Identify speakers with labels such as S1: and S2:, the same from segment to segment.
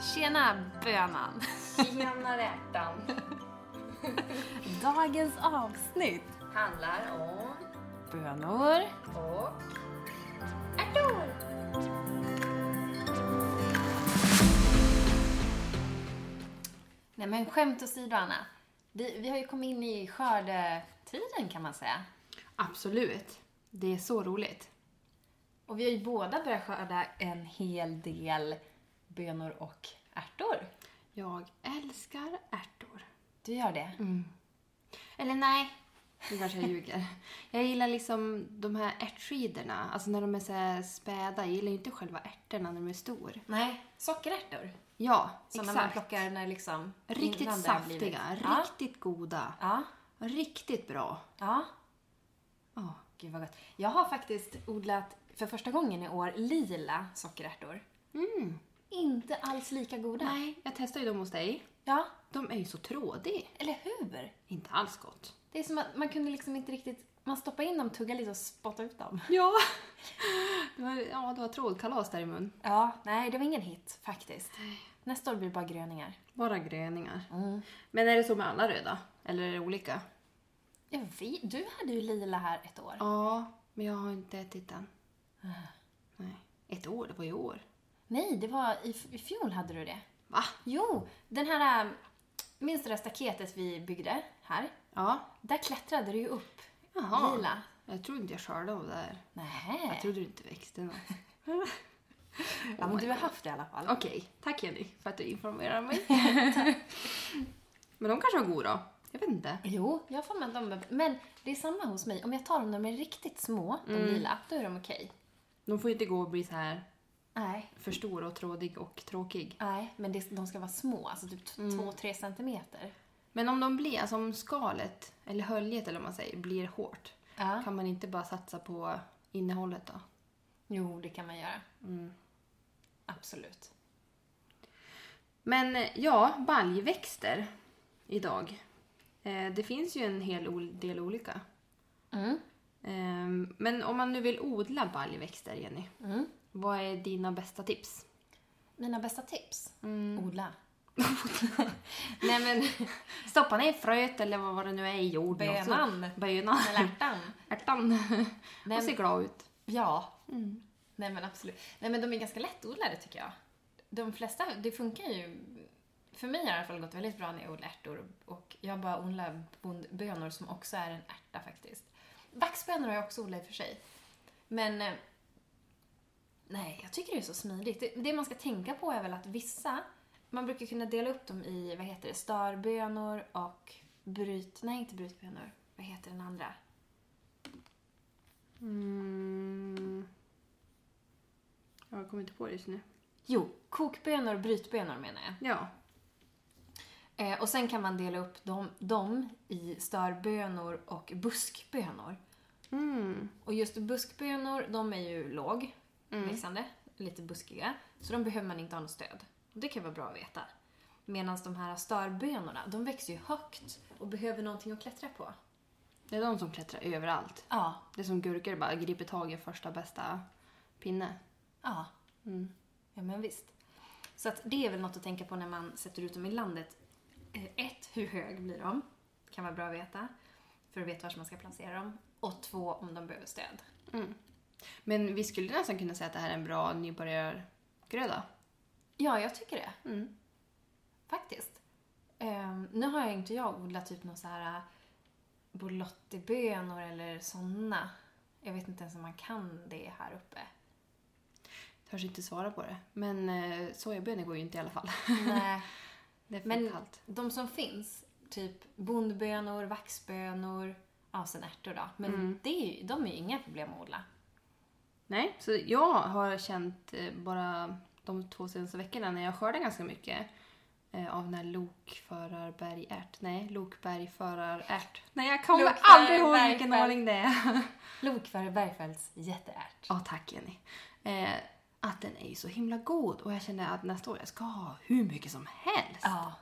S1: Tjena bönan!
S2: Tjena rätan!
S1: Dagens avsnitt
S2: Handlar om...
S1: Bönor.
S2: och... ärtor!
S1: Nej men skämt åsido Anna. Vi, vi har ju kommit in i skördetiden kan man säga.
S3: Absolut. Det är så roligt.
S1: Och vi har ju båda börjat skörda en hel del bönor och ärtor.
S3: Jag älskar ärtor.
S1: Du gör det?
S2: Mm.
S3: Eller nej, nu kanske jag ljuger. Jag gillar liksom de här ärtskidorna, alltså när de är så här späda. Jag gillar ju inte själva ärtorna när de är stor.
S1: Nej, sockerärtor.
S3: Ja,
S1: Sådana man
S3: exakt.
S1: plockar när liksom...
S3: Riktigt
S1: innan det har blivit-
S3: saftiga,
S1: Ja.
S3: riktigt goda,
S1: ja.
S3: riktigt bra.
S1: ja.
S3: Ja.
S1: Gud vad gott. Jag har faktiskt odlat för första gången i år lila sockerärtor.
S3: Mm.
S1: Inte alls lika goda.
S3: Nej, jag testar ju dem hos dig.
S1: Ja,
S3: De är ju så trådiga.
S1: eller hur?
S3: Inte alls gott.
S1: Det är som att man kunde liksom inte riktigt... Man stoppade in dem, tuggade lite och spottade ut dem.
S3: Ja, det var, ja, det var trådkalas där i mun.
S1: Ja, nej det var ingen hit faktiskt. Nästa år blir det bara gröningar.
S3: Bara gröningar. Men är det så med alla röda? Eller är det olika?
S1: Jag vet, du hade ju lila här ett år.
S3: Ja, men jag har inte ätit den. Nej. Ett år? Det var i år.
S1: Nej, det var i, i fjol hade du det.
S3: Va?
S1: Jo, den här... ähm, Minns du det där staketet vi byggde här?
S3: Ja.
S1: Där klättrade du ju upp
S3: Jaha.
S1: lila.
S3: Jag trodde inte jag skörde av det här.
S1: Nej.
S3: Jag trodde det inte växte något.
S1: ja, men du har haft det i alla fall.
S3: Okej, tack Jenny för att du informerar mig. men de kanske var goda? Jag vet inte.
S1: Jo, jag får med dem. Men det är samma hos mig. Om jag tar dem när de är riktigt små, de lila, då är de okej.
S3: De får ju inte gå och bli så här
S1: Nej.
S3: för stora och trådig och tråkig.
S1: Nej, men det, de ska vara små. Alltså typ 2-3 centimeter.
S3: Men om de blir, alltså om skalet, eller höljet eller vad man säger, blir hårt.
S1: Ja.
S3: Kan man inte bara satsa på innehållet då?
S1: Jo, det kan man göra. Absolut.
S3: Men eh, ja, baljväxter idag. Eh, Det finns ju en hel ol- del olika.
S1: Mm.
S3: Eh, Men om man nu vill odla baljväxter, Jenny,
S1: Mm.
S3: vad är dina bästa tips?
S1: Mina bästa tips? Odla.
S3: Nej men, stoppa ner fröet eller vad var det nu är i jorden. och så-
S1: Bönan.
S3: Bönan.
S1: Med lärtan.
S3: Ärtan.
S1: Men-
S3: Och se glad ut.
S1: Ja. Nej men absolut. Nej men de är ganska lättodlade tycker jag. De flesta, det funkar ju. För mig har det i alla fall gått väldigt bra när jag odlar ärtor och jag bara odlar bond- bönor som också är en ärta faktiskt. Vaxbönor har jag också odlat i och för sig. Men eh, nej, jag tycker det är så smidigt. Det, det man ska tänka på är väl att vissa, man brukar kunna dela upp dem i, vad heter det, störbönor och bryt, nej inte brytbönor, vad heter den andra?
S3: Mm. Jag kommer inte på det just nu.
S1: Jo, kokbönor och brytbönor menar jag.
S3: Ja.
S1: Eh, och sen kan man dela upp dem, dem i störbönor och buskbönor.
S3: Mm.
S1: Och just buskbönor, de är ju låg, växande, lite buskiga. Så de behöver man inte ha något stöd. Och det kan vara bra att veta. Medan de här störbönorna, de växer ju högt och behöver någonting att klättra på.
S3: Det är de som klättrar överallt.
S1: Ja,
S3: Det är som gurkor, bara griper tag i första bästa pinne. Mm.
S1: ja. Ja, men visst. Så att det är väl något att tänka på när man sätter ut dem i landet. Eh, Ett, hur hög blir de? Kan vara bra att veta. För att veta var man ska placera dem. Och två, om de behöver stöd.
S3: Men vi skulle nästan kunna säga att det här är en bra nybörjargröda.
S1: Ja, jag tycker det.
S3: Mm.
S1: Faktiskt. Ehm, nu har jag inte jag odlat typ någon så här eh, bolottibönor eller sådana. Jag vet inte ens om man kan det här uppe.
S3: Törs inte svara på det. Men eh, sojabönor går ju inte i alla fall.
S1: Nej,
S3: Det är för
S1: men
S3: kallt.
S1: de som finns, typ bondbönor, vaxbönor, ja sen ärtor då. Men
S3: Mm.
S1: det är ju, de är ju inga problem att odla.
S3: Nej, så jag har känt eh, bara de två senaste veckorna när jag skördar ganska mycket eh, av den här lokförarbergärt. Nej, lokbergförarärt. Nej, jag kommer
S1: Lokförarbergfält.
S3: aldrig ihåg vilken ordning det är.
S1: Lokfärg Bergfeldts jätteärt.
S3: Ja, tack Jenny. Eh, att den är ju så himla god och jag känner att nästa år jag ska ha hur mycket som helst.
S1: Ja.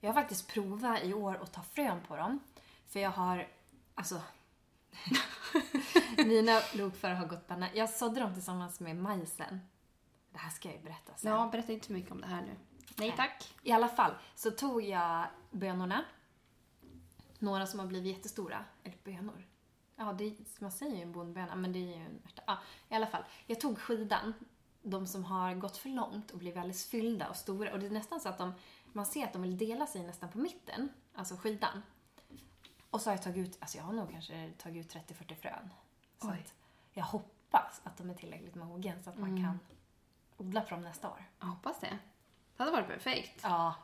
S1: Jag har faktiskt provat i år att ta frön på dem. För jag har, alltså... mina lokför har gått banan. Jag sådde dem tillsammans med majsen. Det här ska jag ju berätta sen.
S3: Ja, berätta inte så mycket om det här nu. Nej tack.
S1: I alla fall så tog jag bönorna. Några som har blivit jättestora. Eller bönor. Ja, det är, man säger ju en bondböna, men det är ju en ärta. Ja, I alla fall, jag tog skidan. De som har gått för långt och blivit alldeles fyllda och stora. Och det är nästan så att de, man ser att de vill dela sig nästan på mitten. Alltså skidan. Och så har jag tagit ut, alltså jag har nog kanske tagit ut 30-40 frön. Så
S3: Oj.
S1: att jag hoppas att de är tillräckligt mogen så att man kan odla på dem nästa år.
S3: Jag hoppas det. Det hade varit perfekt.
S1: Ja,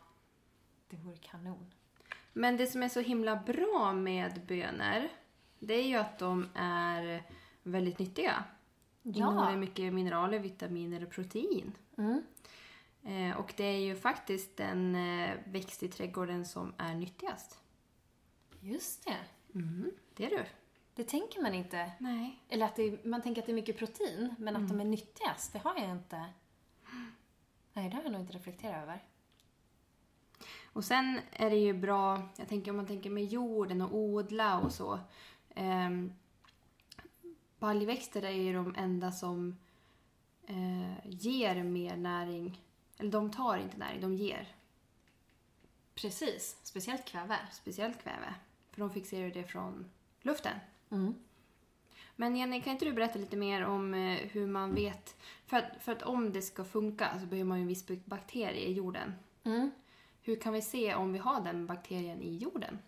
S1: det vore kanon.
S3: Men det som är så himla bra med bönor, det är ju att de är väldigt nyttiga. De innehåller mycket mineraler, vitaminer och protein.
S1: Mm.
S3: Eh, och det är ju faktiskt den eh, växt i trädgården som är nyttigast.
S1: Just det.
S3: Det är du.
S1: Det tänker man inte.
S3: Nej.
S1: Eller att det är, man tänker att det är mycket protein, men att de är nyttigast, det har jag inte. Nej, det har jag nog inte reflekterat över.
S3: Och sen är det ju bra, jag tänker om man tänker med jorden och odla och så. Ehm, baljväxter är ju de enda som eh, ger mer näring. Eller de tar inte näring, de ger.
S1: Precis, speciellt kväve.
S3: Speciellt kväve. För de fixerar ju det från luften.
S1: Mm.
S3: Men Jenny, kan inte du berätta lite mer om eh, hur man vet... För att, för att om det ska funka så behöver man ju en viss bakterie i jorden.
S1: Mm.
S3: Hur kan vi se om vi har den bakterien i jorden?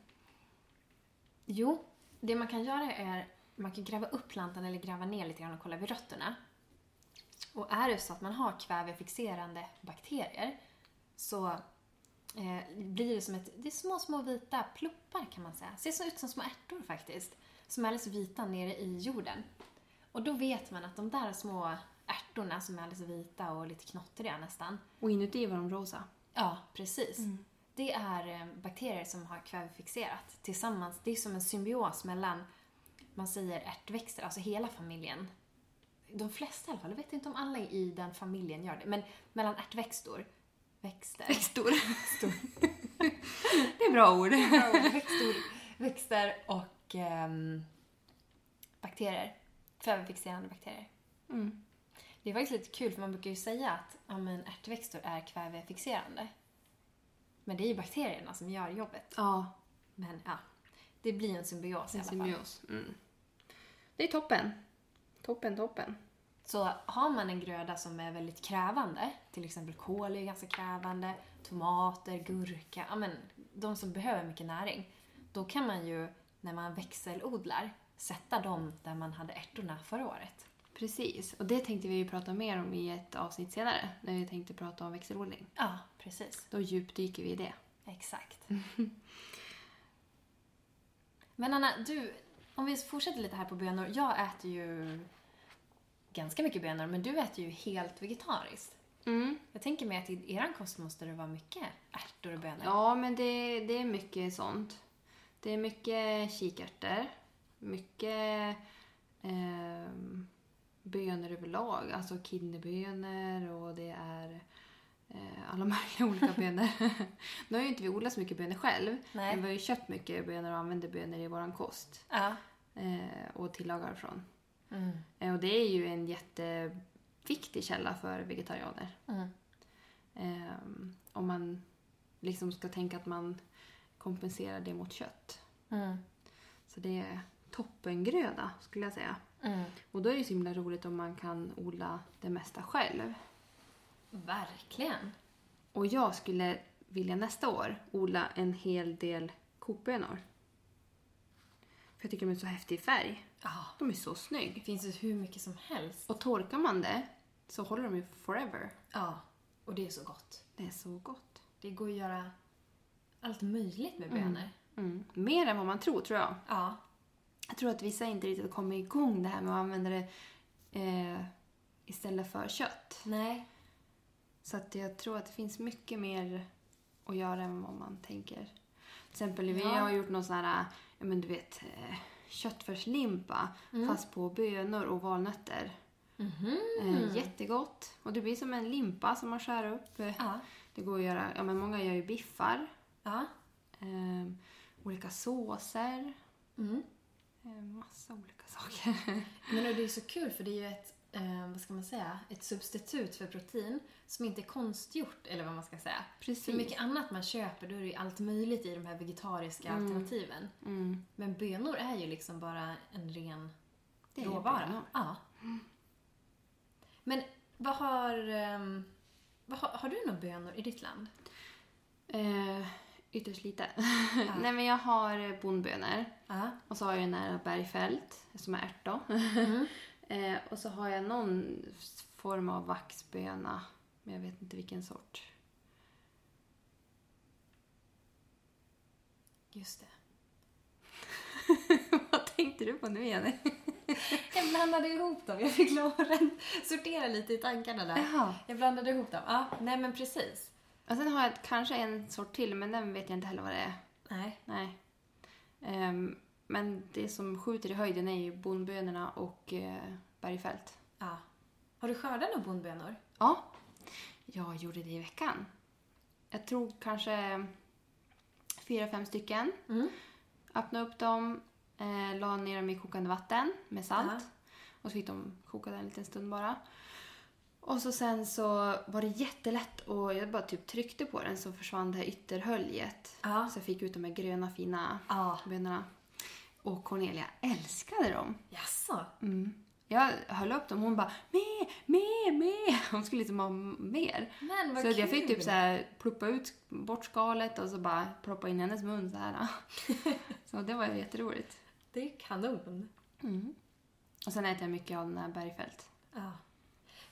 S1: Jo, det man kan göra är man kan gräva upp plantan eller gräva ner lite grann och kolla vid rötterna. Och är det så att man har kvävefixerande bakterier så eh, blir det som ett, det är små, små vita pluppar kan man säga. Ser så ut som små ärtor faktiskt. Som är alldeles vita nere i jorden. Och då vet man att de där små ärtorna som är alldeles vita och lite knottriga nästan,
S3: Och inuti var de rosa.
S1: Ja, mm. precis. Det är eh, bakterier som har kvävefixerat tillsammans. Det är som en symbios mellan, man säger ärtväxter, alltså hela familjen. De flesta i alla fall, jag vet inte om alla i den familjen gör det, men mellan ärtväxter, växter,
S3: Växtor. det är bra ord.
S1: växter, växter och ehm, bakterier. Kvävefixerande bakterier.
S3: Mm.
S1: Det är faktiskt lite kul för man brukar ju säga att ja, men ärtväxter är kvävefixerande. Men det är ju bakterierna som gör jobbet.
S3: Ja,
S1: Men ja, det blir en symbios i
S3: en
S1: alla fall.
S3: symbios. Mm. Det är toppen. Toppen, toppen.
S1: Så har man en gröda som är väldigt krävande, till exempel kål är ju ganska krävande, tomater, gurka, ja men de som behöver mycket näring. Då kan man ju, när man växelodlar, sätta dem där man hade ärtorna förra året.
S3: Precis, och det tänkte vi ju prata mer om i ett avsnitt senare. När vi tänkte prata om växelodling.
S1: Ja, precis.
S3: Då djupdyker vi i det.
S1: Exakt. Men Anna, du, om vi fortsätter lite här på bönor. Jag äter ju ganska mycket bönor, men du äter ju helt vegetariskt.
S3: Mm.
S1: Jag tänker mig att i er kost måste det vara mycket ärtor och bönor.
S3: Ja, men det, det är mycket sånt. Det är mycket kikärtor, mycket ehm, bönor överlag. Alltså kidneybönor och det är eh, alla möjliga olika bönor. nu har ju inte vi odlat så mycket bönor själv,
S1: Nej.
S3: men vi har ju köpt mycket bönor och använder bönor i vår kost
S1: Mm. Ja.
S3: eh, och tillagar från.
S1: Mm.
S3: Eh, och det är ju en jätteviktig källa för vegetarianer.
S1: Mm.
S3: Ehm, om man liksom ska tänka att man kompenserar det mot kött.
S1: Mm.
S3: Så det är toppengröda skulle jag säga.
S1: Mm.
S3: Och då är det ju så himla roligt om man kan odla det mesta själv.
S1: Verkligen.
S3: Och jag skulle vilja nästa år odla en hel del kokbönor. För jag tycker de är så häftig i färg.
S1: Ja.
S3: De är så snygg.
S1: Det finns ju hur mycket som helst.
S3: Och torkar man det så håller de ju forever.
S1: Ja. Och det är så gott.
S3: Det är så gott.
S1: Det går att göra allt möjligt med bönor.
S3: Mm. Mer än vad man tror, tror jag.
S1: Ja.
S3: Jag tror att vissa inte riktigt har kommit igång det här med att använda det eh, istället för kött.
S1: Nej.
S3: Så att jag tror att det finns mycket mer att göra än vad man tänker. Till exempel, vi
S1: Ja.
S3: har gjort någon sån här, ja men du vet, eh, köttfärslimpa fast på bönor och valnötter.
S1: Mm-hmm.
S3: Eh, jättegott. Och det blir som en limpa som man skär upp. Eh,
S1: Ja.
S3: Det går att göra, ja men många gör ju biffar,
S1: Ja.
S3: eh, olika såser,
S1: Mm.
S3: eh, massa olika saker.
S1: Men och det är så kul för det är ju ett eh, vad ska man säga, ett substitut för protein som inte är konstgjort, eller vad man ska säga. För
S3: Precis.
S1: mycket annat man köper, då är det ju allt möjligt i de här vegetariska
S3: Mm.
S1: alternativen.
S3: Mm.
S1: Men bönor är ju liksom bara en ren
S3: Det är
S1: råvara.
S3: bönor.
S1: Ja. Men vad har, ehm, vad har... Har du några bönor i ditt land?
S3: Eh, ytterst lite. Nej men jag har bondbönor.
S1: Ja.
S3: Och så har jag nära bergfält som är ärtor. eh, och så har jag någon form av vaxböna. Men jag vet inte vilken sort.
S1: Just det.
S3: Vad tänkte du på nu Jenny?
S1: Jag blandade ihop dem. Jag fick lov att sortera lite i tankarna där.
S3: Jaha.
S1: Jag blandade ihop dem. Ja, nej men precis.
S3: Och sen har jag kanske en sort till men den vet jag inte heller vad det är.
S1: Nej.
S3: Nej. Ehm, men det som skjuter i höjden är ju bondbönorna och eh, bergfält.
S1: Ja. Har du skördat några bondbönor?
S3: Ja, jag gjorde det i veckan. Jag tror kanske fyra, fem stycken.
S1: Mm.
S3: Öppnade upp dem, eh, la ner dem i kokande vatten med salt.
S1: Aha.
S3: Och så fick de koka där en liten stund bara. Och så sen så var det jättelätt och jag bara typ tryckte på den så försvann det här ytterhöljet.
S1: Ja.
S3: Så jag fick ut de här gröna fina
S1: Ja.
S3: bönorna. Och Cornelia älskade dem.
S1: Jaså?
S3: Mm. Jag höll upp dem och hon bara med, med, med. Hon skulle liksom ha mer.
S1: Men vad
S3: så att
S1: kul!
S3: jag fick typ så här ploppa ut bort skalet och så bara ploppa in i hennes mun så här. så det var ju jätteroligt.
S1: Det är kanon.
S3: Mm. Och sen äter jag mycket av den här bergfält.
S1: Ja.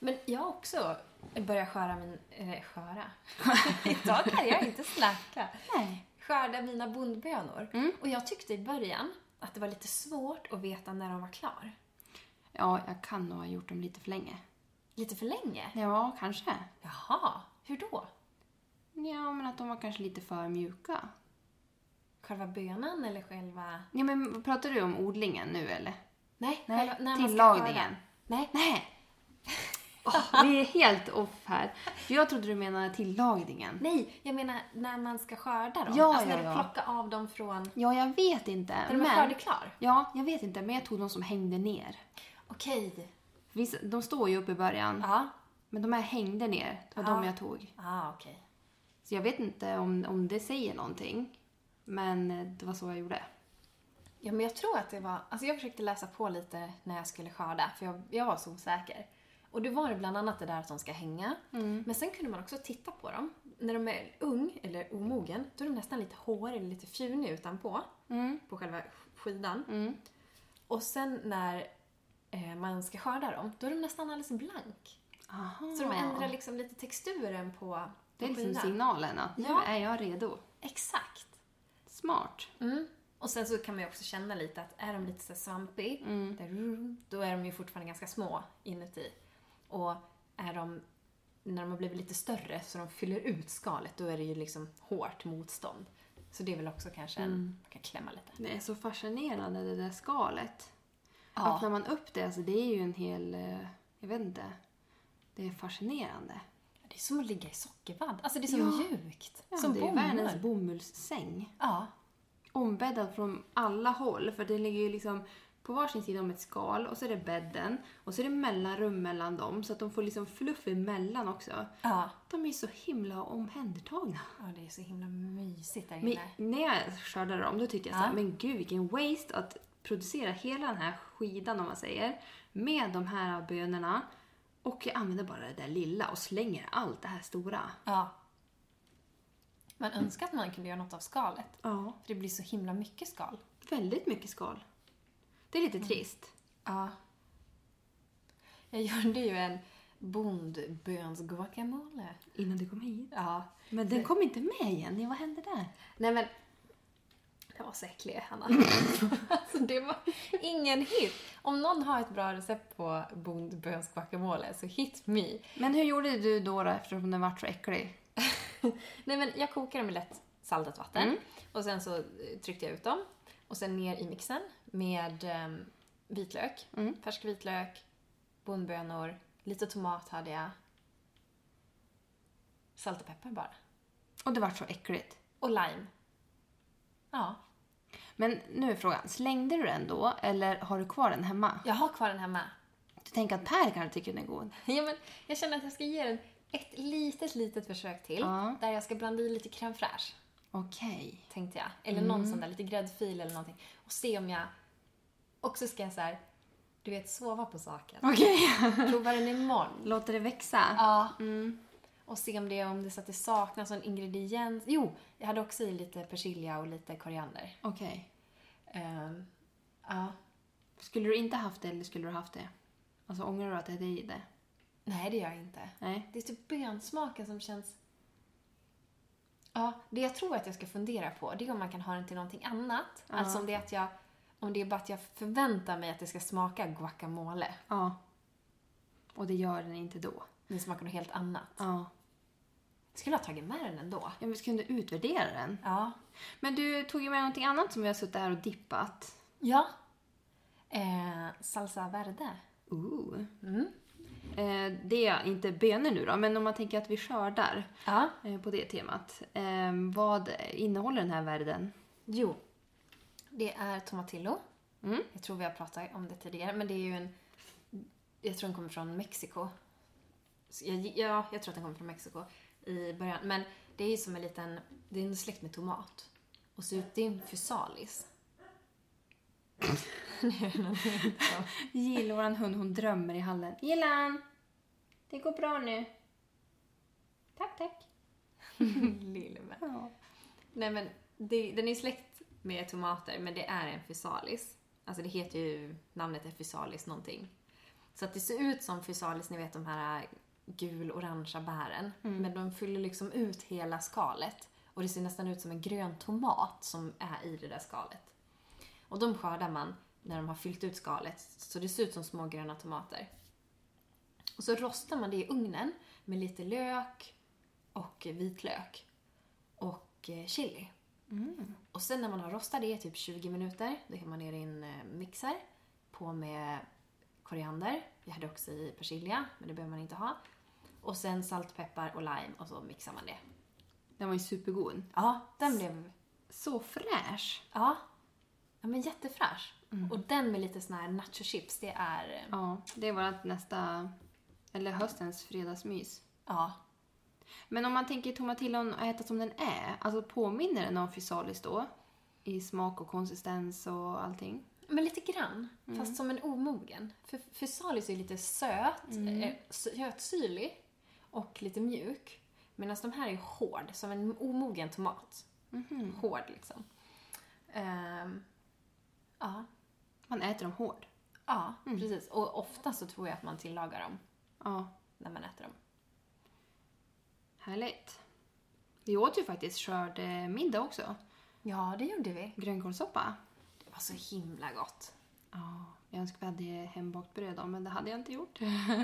S1: Men jag har också börjat skära min... Eller skära? Idag kan jag inte snacka.
S3: Nej.
S1: Skörda mina bondbönor.
S3: Mm.
S1: Och jag tyckte i början att det var lite svårt att veta när de var klar.
S3: Ja, jag kan nog ha gjort dem lite för länge.
S1: Lite för länge.
S3: Ja, kanske.
S1: Jaha, hur då?
S3: Ja, men att de var kanske lite för mjuka.
S1: Själva bönan eller själva...
S3: Ja, men pratar du om odlingen nu eller?
S1: Nej,
S3: Nej,
S1: själva, när man ska skörda.
S3: tillagningen.
S1: Nej,
S3: Nej. Åh, vi är helt off här. För jag trodde du menade tillagningen.
S1: nej, jag menar när man ska skörda dem.
S3: Ja,
S1: alltså när du
S3: ja, ja.
S1: plockar av dem från...
S3: Ja, jag vet inte.
S1: När de är
S3: men...
S1: skördeklar.
S3: Ja, jag vet inte. Men jag tog de som hängde ner.
S1: Okej.
S3: Vissa, de står ju upp i början.
S1: Ja.
S3: Men de här hängde ner. Det var
S1: Ja.
S3: de jag tog.
S1: Ah, okej.
S3: Så jag vet inte om, om det säger någonting. Men eh, det var så jag gjorde.
S1: Ja, men jag tror att det var... Alltså jag försökte läsa på lite när jag skulle skörda, för jag, jag var så osäker. Och det var det bland annat det där att de ska hänga.
S3: Mm.
S1: Men sen kunde man också titta på dem. När de är ung, eller omogen, då är de nästan lite håriga eller lite fjuniga utanpå.
S3: Mm.
S1: På själva skidan. Och sen när eh, man ska skörda dem, då är de nästan alldeles blank.
S3: Aha.
S1: Så de ändrar liksom lite texturen på, på
S3: Det är liksom
S1: skidan.
S3: signalen att nu
S1: Ja.
S3: är jag redo.
S1: Exakt.
S3: Smart.
S1: Mm. Och sen så kan man ju också känna lite att är de lite så här svampig,
S3: Mm.
S1: där, då är de ju fortfarande ganska små inuti. Och är de, när de har blivit lite större så de fyller ut skalet, då är det ju liksom hårt motstånd. Så det är väl också kanske en,
S3: Mm.
S1: man kan klämma lite.
S3: Det är så fascinerande det där skalet.
S1: Ja.
S3: Öppnar man upp det, alltså det är ju en hel... eh, Jag vet inte. Det är fascinerande.
S1: Det är som att ligga i sockervadd. Alltså det är så mjukt.
S3: Ja,
S1: som
S3: det är världens
S1: bomull.
S3: bomullssäng.
S1: Ja.
S3: Ombäddad från alla håll. För det ligger ju liksom på varsin sida om ett skal och så är det bädden. Och så är det mellanrum mellan dem så att de får liksom fluff emellan också.
S1: ja.
S3: De är ju så himla omhändertagna.
S1: Ja, det är så himla mysigt där
S3: Men
S1: inne.
S3: när jag skördade dem då tyckte jag
S1: Ja.
S3: så här, men gud vilken waste att producera hela den här skidan om man säger med de här bönorna och jag använder bara det där lilla och slänger allt det här stora.
S1: Ja. Man önskar att man kunde göra något av skalet.
S3: Ja,
S1: För det blir så himla mycket skal.
S3: väldigt mycket skal. Det är lite trist.
S1: Ja. Jag gjorde ju en bondböns-guacamole.
S3: Innan du kom hit.
S1: Ja.
S3: Men den kom inte med Jenny, vad hände där?
S1: Nej men, den var så äcklig, Hanna. alltså det var ingen hit. Om någon har ett bra recept på bondböns-guacamole så hit me.
S3: Men hur gjorde du då, då eftersom den var så äcklig?
S1: Nej men jag kokar dem i lätt saltat vatten och sen så eh, tryckte jag ut dem och sen ner i mixen med eh, vitlök, färsk vitlök, bondbönor, lite tomat hade jag. Salt och peppar bara.
S3: Och det var så äckligt.
S1: Och lime. Ja,
S3: Men nu är frågan, slängde du den då eller har du kvar den hemma?
S1: jag har kvar den hemma.
S3: Du tänker att Per kanske tycker den är god?
S1: Ja, men jag känner att jag ska ge den ett litet, litet försök till.
S3: Ja.
S1: Där jag ska blanda i lite crème fraîche,
S3: Okej.
S1: tänkte jag. Eller någon sån där, lite gräddfil eller någonting. Och se om jag... Och så ska jag så här, du vet, sova på saken.
S3: Okej.
S1: Prova den imorgon. Mm.
S3: Låter det växa?
S1: Ja. Och se om det, om det så att det saknas någon ingrediens. Jo, jag hade också i lite persilja och lite koriander.
S3: Okej.
S1: Ehm, ja.
S3: Skulle du inte haft det eller skulle du haft det? Alltså ångrar du att det är i det?
S1: Nej, det gör jag inte.
S3: Nej.
S1: Det är typ bönsmaken som känns... Ja, det jag tror att jag ska fundera på det är om man kan ha den till någonting annat. Alltså om det är att jag... Om det är bara att jag förväntar mig att det ska smaka guacamole.
S3: Ja. Och det gör den inte då?
S1: Det smakar något helt annat.
S3: Ja.
S1: Jag skulle ha tagit med den ändå.
S3: Ja, men vi kunde utvärdera den.
S1: Ja.
S3: Men du tog ju med någonting annat som vi har suttit här och dippat.
S1: Ja. Eh, salsa verde.
S3: Ooh.
S1: Mm.
S3: Eh, det är inte bönor nu då, men om man tänker att vi skördar
S1: Ja.
S3: eh, på det temat. Eh, vad innehåller den här världen?
S1: Jo. Det är tomatillo.
S3: Mm.
S1: Jag tror vi har pratat om det tidigare, men det är ju en... Jag tror den kommer från Mexiko. Så Jag, ja, jag tror att den kommer från Mexiko i början. Men det är ju som en liten... Det är en släkt med tomat. Och så ut- det är en fysalis.
S3: Jill, våran hund, hon drömmer i hallen. Gillan! Det går bra nu. Tack, tack.
S1: Lillebär. Nej men, det, den är ju släkt med tomater, men det är en fysalis. Alltså det heter ju, namnet är fysalis någonting. Så att det ser ut som fysalis, ni vet de här gul-orangea bären. Men de fyller liksom ut hela skalet. Och det ser nästan ut som en grön tomat som är i det där skalet. Och de skördar man när de har fyllt ut skalet, så det ser ut som små gröna tomater. Och så rostar man det i ugnen med lite lök och vitlök och eh, chili. Och sen när man har rostat det i typ 20 minuter, då kan man ner i en eh, mixer. På med koriander. Jag hade också i persilja, men det behöver man inte ha. Och sen salt, peppar och lime och så mixar man det.
S3: Den var ju supergod.
S1: Ja, den blev...
S3: Så fräsch.
S1: Ja. Ja men jättefräsch. Och den med lite sån här nachochips, det är... eh,
S3: Ja, det är vårt nästa, eller höstens fredagsmys.
S1: Ja.
S3: Men om man tänker tomatillon och äta som den är, alltså påminner den om fysalis då? I smak och konsistens och allting?
S1: Men lite grann, fast som en omogen. För fysalis är ju lite söt, eh, sötsyrlig och lite mjuk. Medan de här är hård, som en omogen tomat. Hård liksom. Ehm, ja,
S3: Man äter dem hård.
S1: ja precis. Och ofta så tror jag att man tillagar dem
S3: Ja,
S1: när man äter dem.
S3: härligt. Vi åt ju faktiskt skördemiddag också.
S1: Ja, det gjorde vi.
S3: Grönkålssoppa.
S1: Det var så himla gott.
S3: Ja, jag önskar vi hade hembakt bröd då, men det hade jag inte gjort.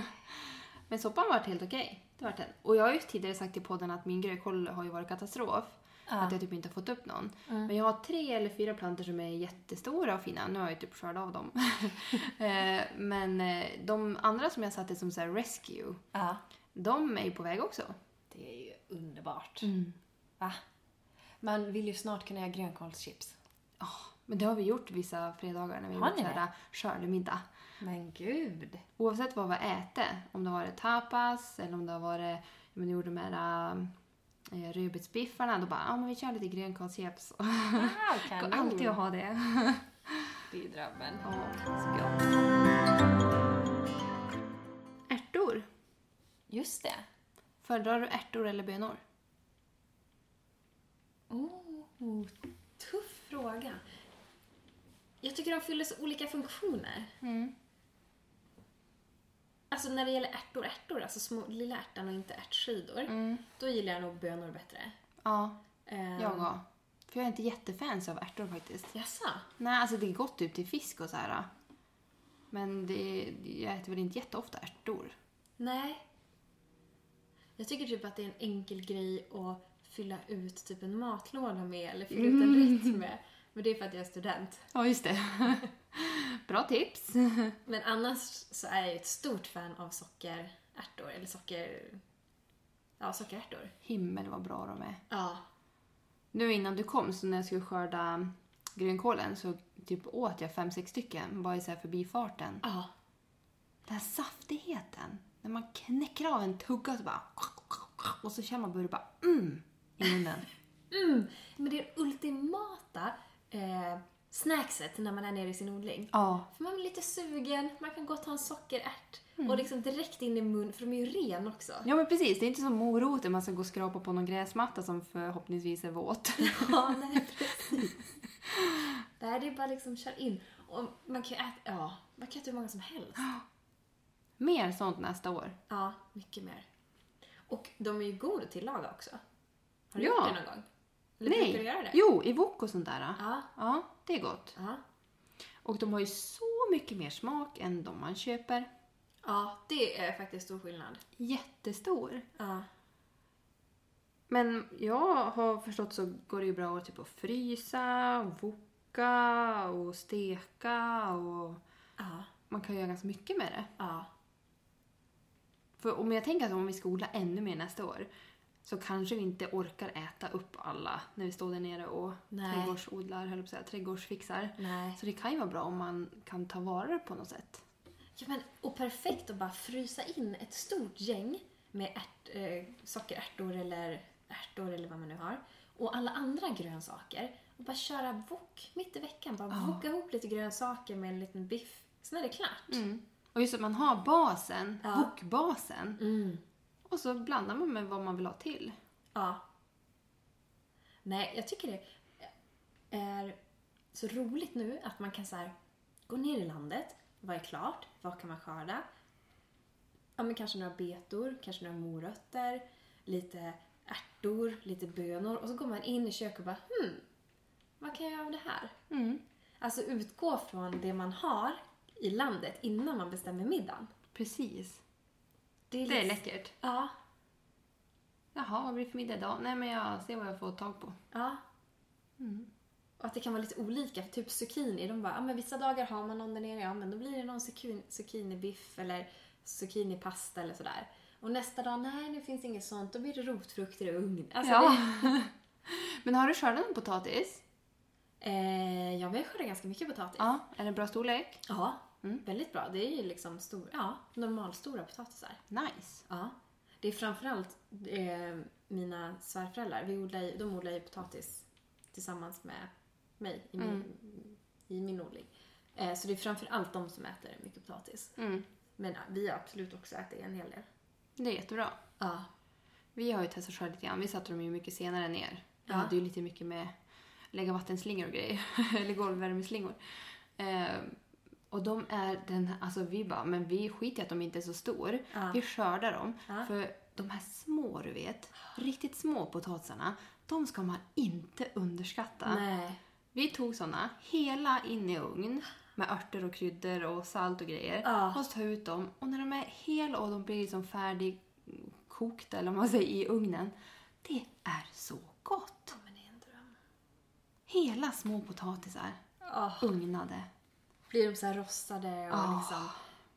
S3: men soppan vart helt okej. Det vart den. Och jag har ju tidigare sagt i podden att min grönkål har ju varit katastrof. Att jag typ inte har fått upp någon. Men jag har tre eller fyra plantor som är jättestora och fina. Nu har jag ju typ skördat av dem. Eh, men eh, de andra som jag satte som så här rescue,
S1: Ja.
S3: de är ju på väg också.
S1: Det är ju underbart. Va? Man vill ju snart kunna göra grönkålschips.
S3: Ja, men det har vi gjort vissa fredagar när vi
S1: Har
S3: har gjort
S1: ni
S3: så här skördemiddag.
S1: Men gud!
S3: Oavsett vad vi har ätit, om det har varit tapas eller om det har varit, ja, men nu gjorde de här äh, rödbetsbiffarna, då bara, ja men vi kör lite grönkålschips.
S1: Ah,
S3: Går alltid att ha det.
S1: Det är drömmen.
S3: Ja, så gott. Ärtor.
S1: Just det.
S3: Föredrar du ärtor eller bönor?
S1: Oh, tuff fråga. Jag tycker de fyller så olika funktioner.
S3: Mm,
S1: Alltså när det gäller ärtor, ärtor, alltså små, lilla ärtan och inte ärtskidor,
S3: mm.
S1: då gillar jag nog bönor bättre.
S3: Ja,
S1: Eh,
S3: jag också. För jag är inte jättefans av ärtor faktiskt.
S1: Jaså?
S3: Nej, alltså det är gott typ till fisk och så här. Men det, jag äter väl inte jätteofta ärtor.
S1: Nej. Jag tycker typ att det är en enkel grej att fylla ut typ en matlåda med eller fylla ut en rätt med. Men det är för att jag är student.
S3: Ja, just det. Bra tips.
S1: Men annars så är jag ju ett stort fan av sockerärtor, eller socker... Ja, sockerärtor.
S3: Himmel vad bra de är.
S1: Ja.
S3: Nu innan du kom, så när jag skulle skörda grönkålen så typ åt jag fem, sex stycken bara i så här förbifarten.
S1: Ja.
S3: Den här saftigheten. När man knäcker av en tugga så bara... Och så känner man bara hur det bara... Mm! I munnen.
S1: Mm, men det är det ultimata eh, snackset när man är nere i sin odling.
S3: Ja.
S1: För man blir lite sugen, man kan gå och ta en sockerärt och liksom direkt in i mun för de är ju ren också.
S3: Ja men precis, det är inte som moroten man ska gå och skrapa på någon gräsmatta som förhoppningsvis är våt.
S1: Ja, nej precis. Det här det är bara liksom kör in. Och man kan ju äta, ja, man kan äta hur många som helst.
S3: Mer sånt nästa år.
S1: Ja, mycket mer. Och de är ju goda att tillaga också. Har du
S3: Ja.
S1: gjort det någon gång? Eller
S3: Nej.
S1: brukar du göra det?
S3: Jo, i wok och sånt där.
S1: Ja.
S3: ja, det är gott.
S1: Ja.
S3: Och de har ju så mycket mer smak än de man köper.
S1: ja, det är faktiskt stor skillnad.
S3: Jättestor.
S1: Ja.
S3: Men jag har förstått så går det ju bra att typ att frysa, och woka och steka och
S1: Ja.
S3: man kan göra ganska mycket med det.
S1: ja.
S3: För om jag tänker att om vi ska odla ännu mer nästa år så kanske vi inte orkar äta upp alla när vi står där nere och
S1: Nej.
S3: trädgårdsodlar, höll jag på att säga, trädgårdsfixar.
S1: Nej.
S3: Så det kan ju vara bra om man kan ta vara på något sätt.
S1: Ja, men, och perfekt att bara frysa in ett stort gäng med ärt, eh, sockerärtor eller ärtor eller vad man nu har. Och alla andra grönsaker. Och bara köra wok mitt i veckan. Bara
S3: Ja.
S1: woka ihop lite grönsaker med en liten biff. Sen är det klart.
S3: Mm. Och just att man har basen,
S1: Mm. Ja.
S3: bokbasen,
S1: Mm.
S3: och så blandar man med vad man vill ha till.
S1: Ja. Nej, jag tycker det är så roligt nu att man kan så här, gå ner i landet. Vad är klart? Vad kan man skörda? Ja, men kanske några betor, kanske några morötter, lite ärtor, lite bönor. Och så går man in i köket och bara hmm, vad kan jag göra av det här? Alltså utgå från det man har i landet innan man bestämmer middagen.
S3: Precis. Det
S1: lite-
S3: är läckert.
S1: Ja,
S3: Jaha, vad blir det för middag idag? Nej, men jag ser vad jag får tag på.
S1: Ja. Och att det kan vara lite olika. För typ zucchini, de bara, ja men vissa dagar har man någon där nere, ja men då blir det någon zucchini, zucchinibiff eller zucchinipasta eller sådär. Och nästa dag, nej nu finns inget sånt, då blir det rotfrukter och ugn. Alltså,
S3: ja.
S1: det,
S3: men har du skördat någon potatis?
S1: eh, ja, vi skördar ganska mycket potatis.
S3: Ja. Är det bra storlek?
S1: Ja,
S3: Mm.
S1: väldigt bra. Det är ju liksom stor, ja, normalstora potatisar.
S3: Nice.
S1: Ja. Det är framförallt eh, mina svärföräldrar. Vi odlar ju, de odlar ju potatis tillsammans med mig i min, i min odling. Eh, så det är framförallt de som äter mycket potatis.
S3: Mm.
S1: Men ja, vi har absolut också ätit en hel del.
S3: Det är jättebra.
S1: Ja.
S3: Vi har ju testat själv lite grann. Vi satte dem ju mycket senare ner. Jag
S1: Ja.
S3: hade ju lite mycket med lägga vattenslingor och grejer. Eller golvvärmeslingor. Ehm, och de är den alltså vi bara, men vi skiter i att de inte är så stor.
S1: Ja.
S3: Vi skördar dem.
S1: Ja.
S3: För de här små, du vet, riktigt små potatisarna, de ska man inte underskatta.
S1: Nej.
S3: Vi tog såna hela in i ugn med örter och kryddor och salt och grejer.
S1: Ja.
S3: Och så tar jag ut dem och när de är hela och de blir liksom färdigkokta eller vad man säger i ugnen. Det är så gott!
S1: Ja, men det är en dröm.
S3: Hela små potatisar,
S1: Ja.
S3: ugnade.
S1: Blir de så här rostade och
S3: Ja.
S1: liksom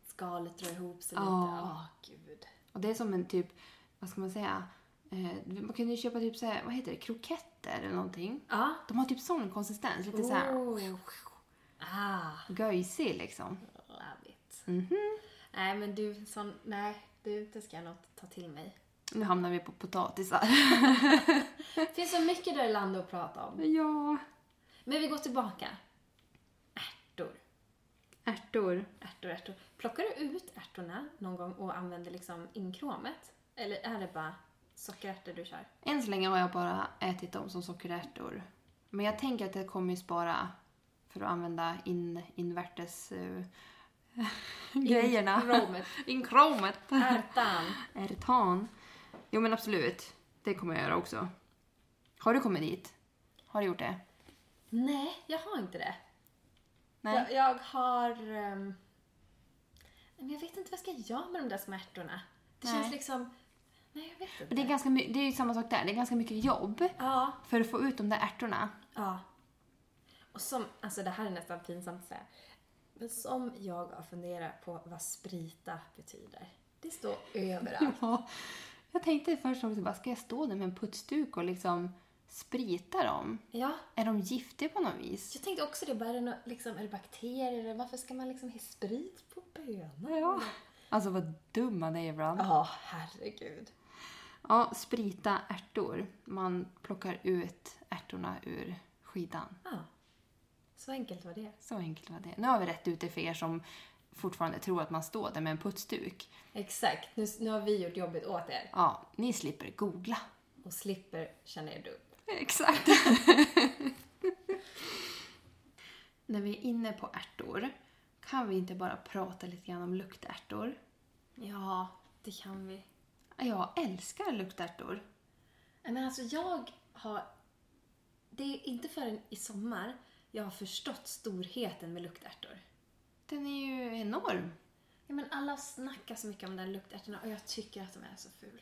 S1: skalet drar ihop sig lite.
S3: Ja.
S1: Åh, gud.
S3: Och det är som en typ, vad ska man säga, eh, man kunde ju köpa typ så här, vad heter det, kroketter eller någonting.
S1: Ja.
S3: De har typ sån konsistens, lite så här
S1: Oh. Ah. Mhm.
S3: göjsig liksom.
S1: Love it. Nej, men du, sån, nej, du, det ska jag nog ta till mig.
S3: Nu hamnar vi på potatisar.
S1: Det finns så mycket där i landet att prata om.
S3: ja,
S1: Men vi går tillbaka. Ärtor.
S3: ärtor.
S1: Ärtor, ärtor. Plockar du ut ärtorna någon gång och använder liksom inkromet? Eller är det bara sockerärtor du kör?
S3: Än så länge har jag bara ätit dem som sockerärtor. Men jag tänker att jag kommer ju spara för att använda in, invärtes eh, grejerna.
S1: Inkromet.
S3: Inkromet.
S1: Ärtan.
S3: Ärtan. Jo men absolut. Det kommer jag göra också. Har du kommit dit? Har du gjort det?
S1: Nej, jag har inte det.
S3: Nej.
S1: Jag, jag har... ehm, men jag vet inte vad jag ska göra med de där små ärtorna. Det
S3: Nej.
S1: känns liksom... Nej, jag vet inte.
S3: Men det är, ganska my- det är ju samma sak där. Det är ganska mycket jobb
S1: Ja.
S3: för att få ut de där ärtorna.
S1: Ja. Och som, alltså det här är nästan pinsamt att säga. Men som jag har funderat på vad sprita betyder. Det står överallt.
S3: Ja. Jag tänkte först också, bara, ska jag stå där med en putsduk och liksom spritar de?
S1: Ja,
S3: Är de giftiga på något vis?
S1: jag tänkte också det. Bara är, det nå- liksom, är det bakterier? eller Varför ska man liksom ha sprit på bönor?
S3: Ja. Alltså vad dumma det är ibland.
S1: Ja, herregud.
S3: Ja, sprita ärtor. Man plockar ut ärtorna ur skidan.
S1: Ja. Så enkelt var det.
S3: Så enkelt var det. Nu har vi rätt ut det för er som fortfarande tror att man står där med en putsduk.
S1: Exakt. Nu, nu har vi gjort jobbet åt er
S3: Ja, ni slipper googla.
S1: och slipper känna er dum.
S3: Exakt. När vi är inne på ärtor kan vi inte bara prata lite grann om luktärtor?
S1: Ja, det kan vi.
S3: Jag älskar luktärtor.
S1: Nej, Men alltså jag har... Det är inte förrän i sommar jag har förstått storheten med luktärtor.
S3: Den är ju enorm.
S1: Ja, men alla snackar så mycket om den luktärtorna och jag tycker att de är så ful.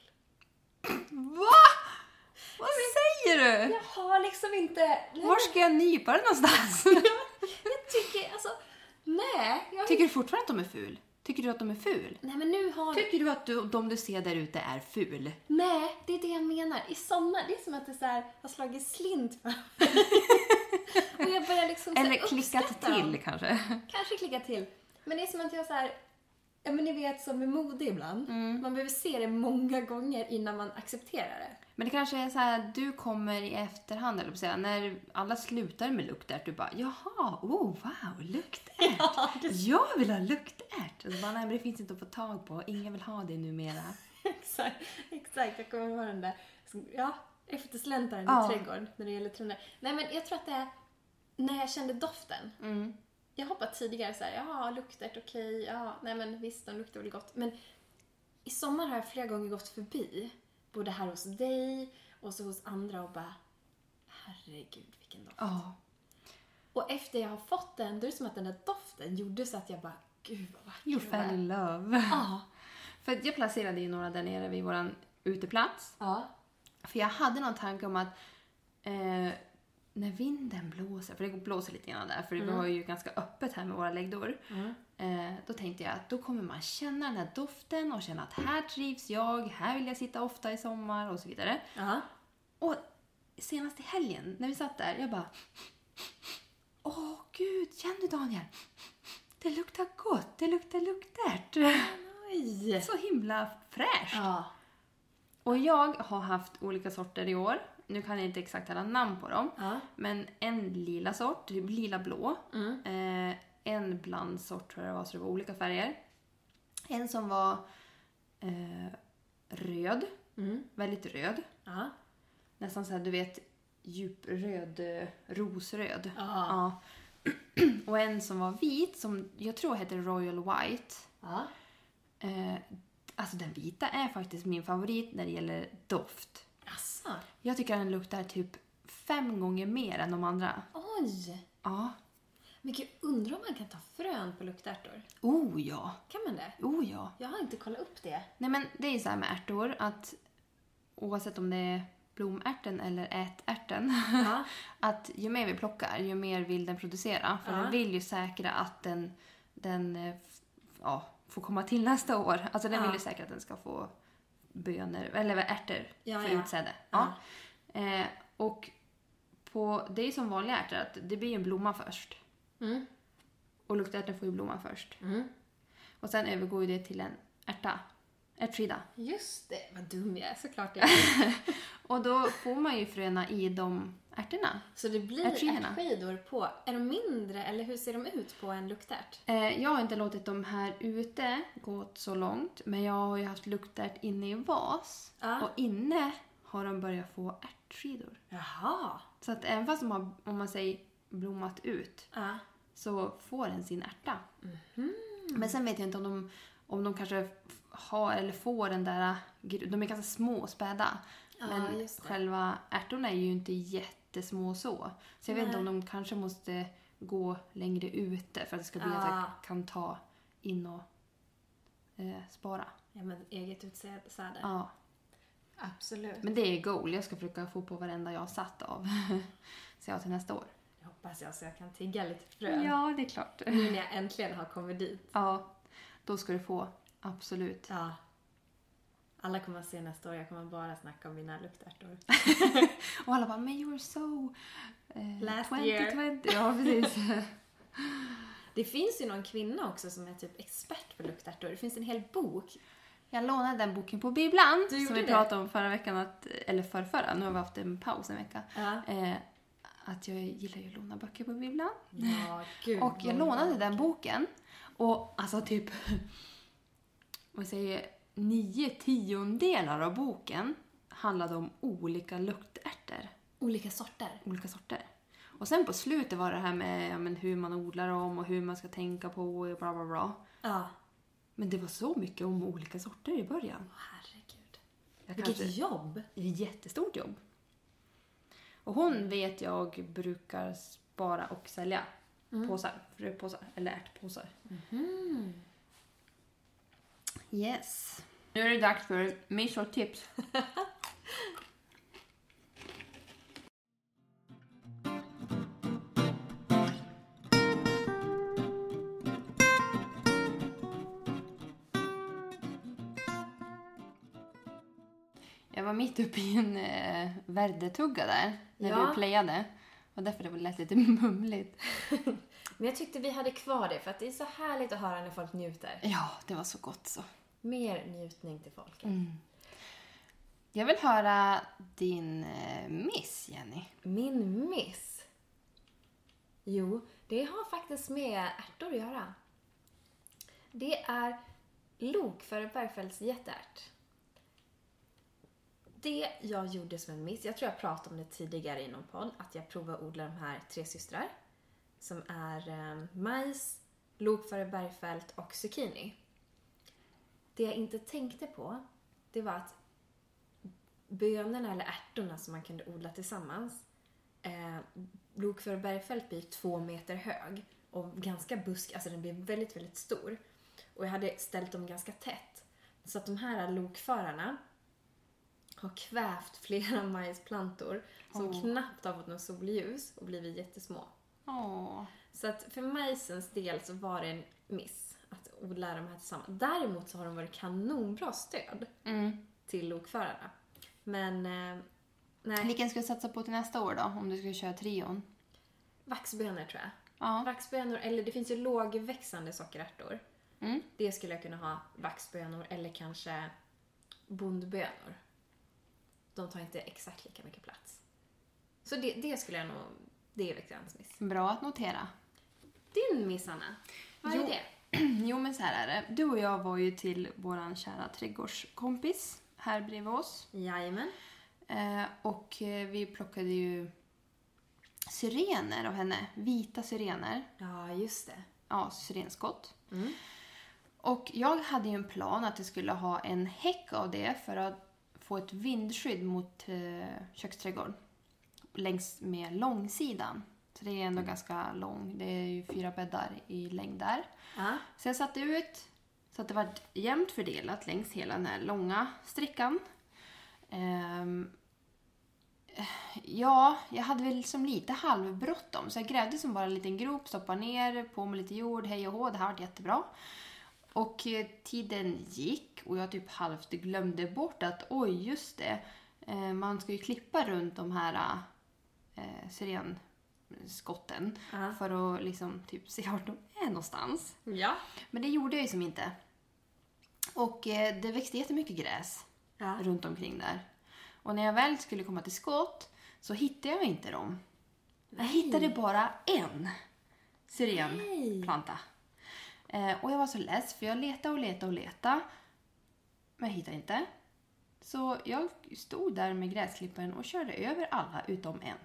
S3: Va? Vad säger du?
S1: Jag har liksom inte...
S3: Var ska jag nypa den någonstans?
S1: Jag tycker alltså... Nej! Jag...
S3: Tycker du fortfarande att de är ful? Tycker du att de är ful?
S1: Nej men nu har...
S3: Tycker du att du, de du ser där ute är ful?
S1: Nej, det är det jag menar. I sommar, det är som att det så här, har slagit slint för mig. Och jag börjar liksom så här
S3: Eller klickat
S1: uppskatta dem.
S3: till kanske?
S1: Kanske klicka till. Men det är som att jag så här, ja men ni vet som med mode ibland. Man behöver se det många gånger innan man accepterar det.
S3: Men det kanske är så här, du kommer i efterhand, eller på att säga, när alla slutar med luktärt, du bara jaha, oh wow, luktärt! Jag vill ha luktärt! Och så bara, nej men det finns inte att få tag på, ingen vill ha det numera.
S1: exakt, exakt, jag kommer ihåg den där ja, eftersläntaren
S3: Ja.
S1: i trädgården när det gäller trunder. Nej men jag tror att det är när jag kände doften. Jag har hoppat tidigare så här, ja luktärt okej, ja, nej men visst de luktar väl gott. Men i sommar har jag flera gånger gått förbi, både här hos dig och så hos andra och bara herregud vilken doft.
S3: Ja.
S1: Och efter jag har fått den, då är det som att den där doften gjorde så att jag bara, gud vad vacker
S3: You
S1: den var."
S3: fell in love.
S1: Ja.
S3: För att jag placerade ju några där nere vid våran uteplats.
S1: Ja.
S3: För jag hade någon tanke om att eh, när vinden blåser, för det blåser lite grann där, för vi har ju ganska öppet här med våra läggdor. Eh, då tänkte jag att då kommer man känna den här doften och känna att här trivs jag, här vill jag sitta ofta i sommar och så vidare.
S1: Ja.
S3: Och senast i helgen när vi satt där, jag bara Åh gud, känn du Daniel? Det luktar gott, det luktar luktärt.
S1: Oj.
S3: Så himla fräscht.
S1: Ja.
S3: Och jag har haft olika sorter i år. Nu kan jag inte exakt alla namn på dem.
S1: Ja.
S3: Men en lila sort, typ lila-blå.
S1: Mm.
S3: Eh, en blandsort tror jag det var, så det var olika färger. En som var eh, röd,
S1: Mm.
S3: väldigt röd.
S1: Ja.
S3: Nästan såhär, du vet, djupröd, eh, rosröd.
S1: Ja.
S3: Ja. Och en som var vit, som jag tror heter Royal White.
S1: Ja.
S3: Eh, alltså den vita är faktiskt min favorit när det gäller doft.
S1: Asså.
S3: Jag tycker den luktar typ fem gånger mer än de andra.
S1: Oj.
S3: Ja.
S1: Men gud, undrar om man kan ta frön på luktärtor?
S3: Oh ja.
S1: Kan man det?
S3: Oh ja.
S1: Jag har inte kollat upp det.
S3: Nej men det är ju så här med ärtor att oavsett om det är blomärten eller ätärten.
S1: Ja.
S3: att ju mer vi plockar, ju mer vill den producera. För
S1: Ja.
S3: den vill ju säkra att den, den eh, f- ja, får komma till nästa år. Alltså den
S1: Ja.
S3: vill ju säkra att den ska få bönor, eller vad, ärtor
S1: Ja,
S3: för
S1: ja.
S3: utsäde. Eh, och på, det är ju som vanliga ärtor, att det blir ju en blomma först.
S1: Mm.
S3: Och luktärten får ju blomma först.
S1: Mm.
S3: Och sen övergår ju det till en ärta, ärtskida.
S1: Just det. Vad dum jag är. Såklart jag är.
S3: Och då får man ju fröna i de ärtorna.
S1: Så det blir
S3: Ärtskidorna.
S1: ärtskidor på. Är de mindre eller hur ser de ut på en luktärt?
S3: Eh, jag har inte låtit de här ute gå så långt, men jag har ju haft luktärt inne i vas.
S1: Ja.
S3: Och inne har de börjat få ärtskidor.
S1: Jaha.
S3: Så att även fast de har, om man säger, blommat ut
S1: Ja.
S3: så får den sin ärta.
S1: Mhm.
S3: Men sen vet jag inte om de, om de kanske f- har eller får den där... gr- De är ganska små och späda.
S1: Ja,
S3: men
S1: just det.
S3: själva ärtorna är ju inte jättesmå så. Så jag vet inte om de kanske måste gå längre ute för att det ska bli att
S1: Ah.
S3: jag kan ta in och eh, spara.
S1: Ja, men eget utsäde.
S3: Ja.
S1: Absolut.
S3: Men det är goal. Jag ska försöka få på varenda jag har satt av. så jag har till nästa år.
S1: Jag hoppas jag så jag kan tigga lite frön.
S3: Ja, det är klart.
S1: Nu när jag äntligen har kommit dit.
S3: ja, då ska du få. Absolut.
S1: Ja. Alla kommer att se nästa år, jag kommer bara snacka om mina luktärtor.
S3: Och alla bara, men you were so... Eh,
S1: Last
S3: 2020.
S1: year.
S3: Ja, precis.
S1: Det finns ju någon kvinna också som är typ expert på luktärtor. Det finns en hel bok.
S3: Jag lånade den boken på bibblan
S1: Du gjorde
S3: som vi
S1: det?
S3: pratade om förra veckan, att, eller förra, förra, nu har vi haft en paus en vecka.
S1: Ja.
S3: Eh, att jag gillar ju att låna böcker på bibblan.
S1: Ja, gud.
S3: Och jag
S1: vad-
S3: lånade den boken och alltså typ, vad säger jag, nio tiondelar av boken handlade om olika luktärtor,
S1: Olika sorter.
S3: olika sorter. Och sen på slutet var det här med ja, men hur man odlar dem och hur man ska tänka på och bla bla bla.
S1: Ja.
S3: Men det var så mycket om olika sorter i början.
S1: Herregud.
S3: Jag
S1: Vilket
S3: kanske-
S1: jobb!
S3: Det är ett jättestort jobb. Och hon vet jag brukar spara och sälja påsar, fröpåsar eller ärtpåsar. Yes. Nu är det dags för miso-tips. Jag var mitt uppe i en eh, värdetugga där när
S1: Ja.
S3: du playade. Och därför det lät lite mumligt.
S1: Men jag tyckte vi hade kvar det, för att det är så härligt att höra när folk njuter.
S3: Ja, det var så gott så.
S1: Mer njutning till folket.
S3: Jag vill höra din eh, miss, Jenny.
S1: Min miss? Jo, det har faktiskt med ärtor att göra. Det är lok för Bergfeldts jätteärt. Det jag gjorde som en miss, jag tror jag pratade om det tidigare i någon podd, att jag provade att odla de här tre systrar. Som är eh, majs, lok för Bergfeldt och zucchini. Det jag inte tänkte på, det var att bönorna eller ärtorna som man kunde odla tillsammans. Eh, Lokför bergfält blir två meter hög och ganska busk, alltså den blir väldigt, väldigt stor. Och jag hade ställt dem ganska tätt. Så att de här lokförarna har kvävt flera majsplantor som
S3: Åh.
S1: knappt har fått något solljus och blivit jättesmå.
S3: Åh.
S1: Så att för majsens del så var det en miss att odla de här tillsammans. Däremot så har de varit kanonbra stöd
S3: Mm.
S1: till lokförarna. Men eh, nej,
S3: Vilken ska du satsa på till nästa år då? Om du ska köra trion?
S1: vaxbönor tror jag.
S3: Ja.
S1: Vaxbönor, eller det finns ju lågväxande sockerärtor.
S3: Mm.
S1: Det skulle jag kunna ha vaxbönor eller kanske bondbönor. De tar inte exakt lika mycket plats. Så det, det skulle jag nog... Det är veckans miss.
S3: Bra att notera.
S1: Din miss, Anna? Vad
S3: Jo.
S1: är det?
S3: jo, men så här är det. Du och jag var ju till våran kära trädgårdskompis här bredvid oss.
S1: Jajamän.
S3: Eh, och eh, vi plockade ju syrener av henne. Vita syrener.
S1: Ja, just det.
S3: Ja, syrenskott.
S1: Mm.
S3: Och jag hade ju en plan att jag skulle ha en häck av det för att få ett vindskydd mot eh, köksträdgården. Längs med långsidan. Så det är ändå ganska lång. Det är ju fyra bäddar i längd där.
S1: Ja.
S3: Så jag satte ut så att det var jämnt fördelat längs hela den här långa sträckan. Ehm, ja, jag hade väl som lite halvbråttom så jag grävde som bara en liten grop, stoppade ner, på med lite jord, hej och hå, det här vart jättebra. Och eh, tiden gick och jag typ halvt glömde bort att oj, just det, eh, man ska ju klippa runt de här eh, syrenskotten
S1: Ja.
S3: för att liksom typ se vart de är någonstans.
S1: Ja.
S3: Men det gjorde jag ju som inte. Och eh, det växte jättemycket gräs
S1: Ja.
S3: runt omkring där. Och när jag väl skulle komma till skott så hittade jag inte dem. Jag hittade bara en syrenplanta. Eh, och jag var så less för jag letade och letade och letade. Men jag hittade inte. Så jag stod där med gräsklipparen och körde över alla utom en.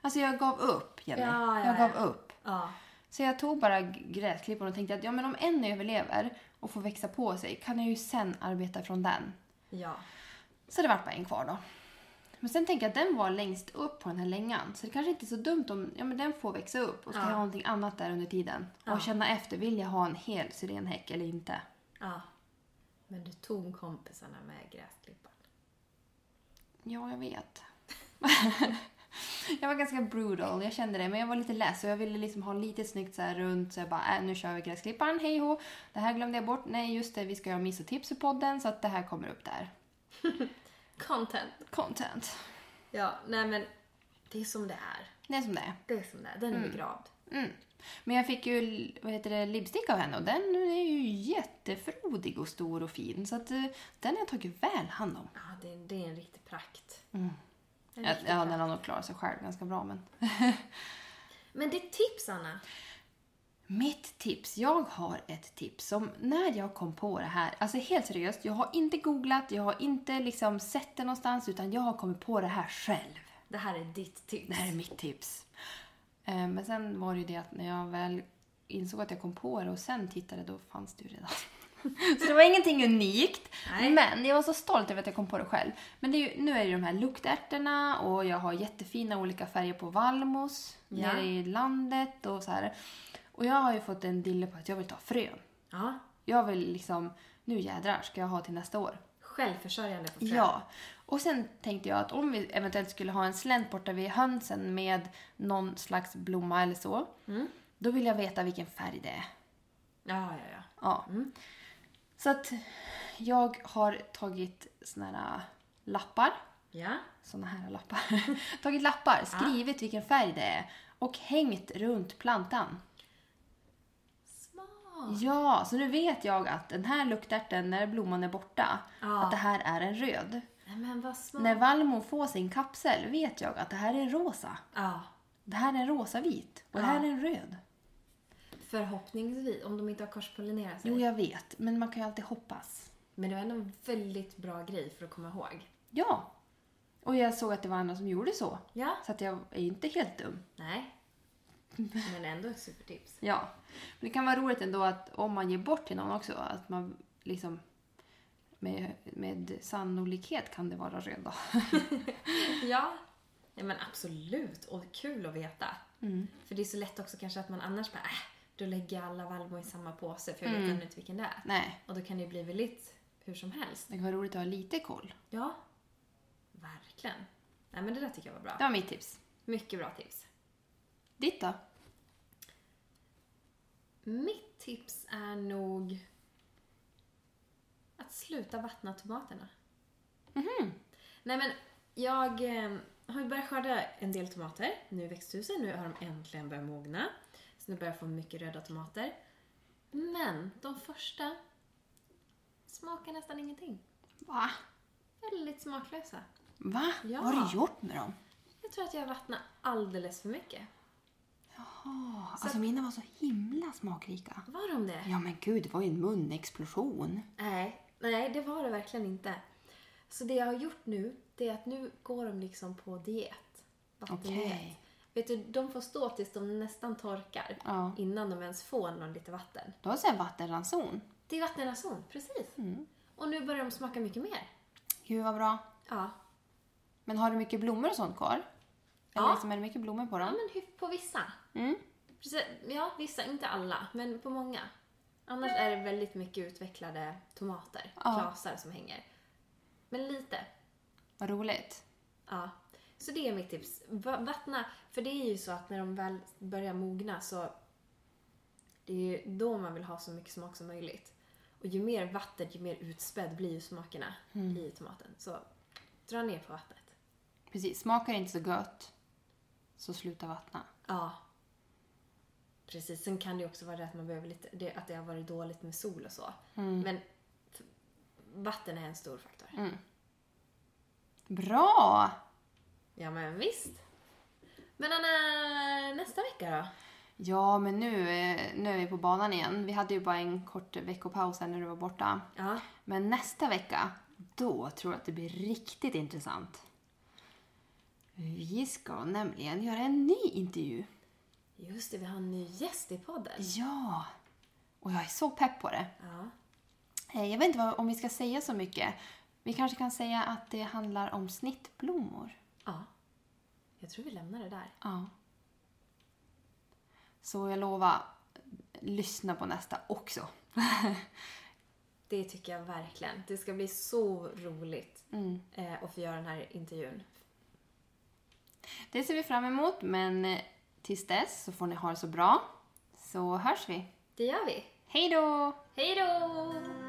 S3: Alltså jag gav upp, Jenny.
S1: Ja, ja,
S3: jag
S1: ja.
S3: gav upp.
S1: Ja.
S3: Så jag tog bara g- gräsklipparen och tänkte att ja, men om en överlever och får växa på sig kan jag ju sen arbeta från den.
S1: Ja.
S3: Så det vart bara en kvar då. Men sen tänkte jag att den var längst upp på den här längan så det kanske inte är så dumt om ja, men den får växa upp och ska
S1: Ja.
S3: jag ha någonting annat där under tiden.
S1: Ja.
S3: Och känna efter, vill jag ha en hel syrenhäck eller inte?
S1: ja. Men du tog kompisarna med gräsklipparen.
S3: Ja, jag vet. Jag var ganska brutal, jag kände det. Men jag var lite less och jag ville liksom ha lite snyggt så här runt. Så jag bara, äh, nu kör vi gräsklipparen, hej ho. Det här glömde jag bort. Nej, just det, vi ska göra misotips i podden så att det här kommer upp där.
S1: Content.
S3: Content.
S1: Ja, nej men det är som det är.
S3: Det är som det är.
S1: Det är som det är. Den är begravd.
S3: Mm. Men jag fick ju vad heter det, lipstick av henne och den är ju jättefrodig och stor och fin. Så att, eh, den har jag tagit väl hand om.
S1: Ja, det är, det är en riktig prakt. En
S3: Ja,
S1: riktig
S3: ja,
S1: prakt.
S3: den har nog klarat sig själv ganska bra men.
S1: Men ditt tips, Anna?
S3: Mitt tips, jag har ett tips som när jag kom på det här, alltså helt seriöst, jag har inte googlat, jag har inte liksom sett det någonstans utan jag har kommit på det här själv.
S1: Det här är ditt tips.
S3: Det här är mitt tips. Eh, Men sen var det ju det att när jag väl insåg att jag kom på det och sen tittade då fanns det ju redan. Så det var ingenting unikt.
S1: Nej.
S3: Men jag var så stolt över att jag kom på det själv. Men det är ju, nu är det ju de här luktärtorna och jag har jättefina olika färger på Valmos
S1: Ja.
S3: nere i landet och så här. Och jag har ju fått en dille på att jag vill ta frön.
S1: Ja.
S3: Jag vill liksom, nu jädrar ska jag ha till nästa år.
S1: Självförsörjande på frön.
S3: Ja. Och sen tänkte jag att om vi eventuellt skulle ha en slänt borta vid hönsen med någon slags blomma eller så. Då vill jag veta vilken färg det är.
S1: Ja, ja, ja.
S3: Ja. Så att jag har tagit såna här äh, lappar.
S1: Ja.
S3: Såna här lappar. tagit lappar, skrivit vilken färg det är och hängt runt plantan.
S1: Smart.
S3: Ja, så nu vet jag att den här luktärten, när blomman är borta,
S1: Ja.
S3: att det här är en röd.
S1: Nej, men vad smart.
S3: När Valmo får sin kapsel vet jag att det här är en rosa.
S1: Ja.
S3: Det här är en rosavit och det här
S1: Ja.
S3: är en röd.
S1: Förhoppningsvis, om de inte har korspollinerat sig.
S3: Jo, jag vet, men man kan ju alltid hoppas.
S1: Men det var ändå en väldigt bra grej för att komma ihåg.
S3: Ja. Och jag såg att det var andra som gjorde så.
S1: Ja.
S3: Så att jag är inte helt dum.
S1: Nej. Men ändå ett supertips.
S3: Ja. Men det kan vara roligt ändå att om man ger bort till någon också, att man liksom med, med sannolikhet kan det vara röda.
S1: Ja. Ja, men absolut. Och kul att veta.
S3: Mm.
S1: För det är så lätt också kanske att man annars bara, äh, då lägger jag alla Valmo i samma påse för jag vet ännu inte vilken det är.
S3: Nej,
S1: Och då kan det ju bli väldigt hur som helst.
S3: det kan vara roligt att ha lite koll.
S1: Ja. Verkligen. Nej, men det där tycker jag var bra.
S3: Det var mitt tips.
S1: Mycket bra tips.
S3: Ditt då?
S1: Mitt tips är nog att sluta vattna tomaterna. Nej men, jag eh, har ju börjat skörda en del tomater nu i växthuset. Nu har de äntligen börjat mogna. Så nu börjar jag få mycket röda tomater. Men de första smakar nästan ingenting.
S3: Va?
S1: Väldigt smaklösa.
S3: Va?
S1: Ja.
S3: Vad har du gjort med dem?
S1: Jag tror att jag vattnar alldeles för mycket.
S3: Oh, alltså mina var så himla smakrika.
S1: Var de det?
S3: Ja men gud, det var ju en munexplosion.
S1: Nej, nej, det var det verkligen inte. Så det jag har gjort nu, det är att nu går de liksom på diet. Vattendiet.
S3: Okej.
S1: Vet du, de får stå tills de nästan torkar.
S3: Ja.
S1: Innan de ens får någon lite vatten.
S3: Du har sån här vattenranson.
S1: Det är vattenranson, precis.
S3: Mm.
S1: Och nu börjar de smaka mycket mer.
S3: Gud vad bra.
S1: Ja,
S3: Men har du mycket blommor och sånt kvar? Eller
S1: Ja.
S3: liksom, är det mycket blommor på
S1: ja
S3: dem?
S1: men hyf- på vissa.
S3: Mm.
S1: Precis, ja, vissa, inte alla, men på många. Annars är det väldigt mycket utvecklade tomater,
S3: Ja.
S1: klasar som hänger. Men lite,
S3: Vad roligt.
S1: Ja, så det är mitt tips. Va- Vattna, för det är ju så att när de väl börjar mogna så det är ju då man vill ha så mycket smak som möjligt. Och ju mer vatten, ju mer utspädd blir ju smakerna i tomaten. Så dra ner på vattnet.
S3: Precis, smakar det inte så gött så sluta vattna.
S1: Ja. Precis, sen kan det ju också vara det att man behöver lite, det, att det har varit dåligt med sol och så. Men f- vatten är en stor faktor.
S3: Bra!
S1: Ja men visst. Men Anna, nästa vecka då?
S3: Ja, men nu, eh, nu är vi på banan igen. Vi hade ju bara en kort veckopaus här när du var borta.
S1: Ja.
S3: Men nästa vecka, då tror jag att det blir riktigt intressant. Vi ska nämligen göra en ny intervju.
S1: Just det, vi har en ny gäst i podden.
S3: Ja! Och jag är så pepp på det.
S1: Ja.
S3: Eh, Jag vet inte vad, om vi ska säga så mycket. Vi kanske kan säga att det handlar om snittblommor.
S1: ja. Jag tror vi lämnar det där.
S3: Ja. Så jag lovar, lyssna på nästa också.
S1: Det tycker jag verkligen. Det ska bli så roligt
S3: Mm.
S1: eh, att få göra den här intervjun.
S3: Det ser vi fram emot, men eh, tills dess så får ni ha det så bra. Så hörs vi.
S1: Det gör vi.
S3: Hej då!
S1: Hej då!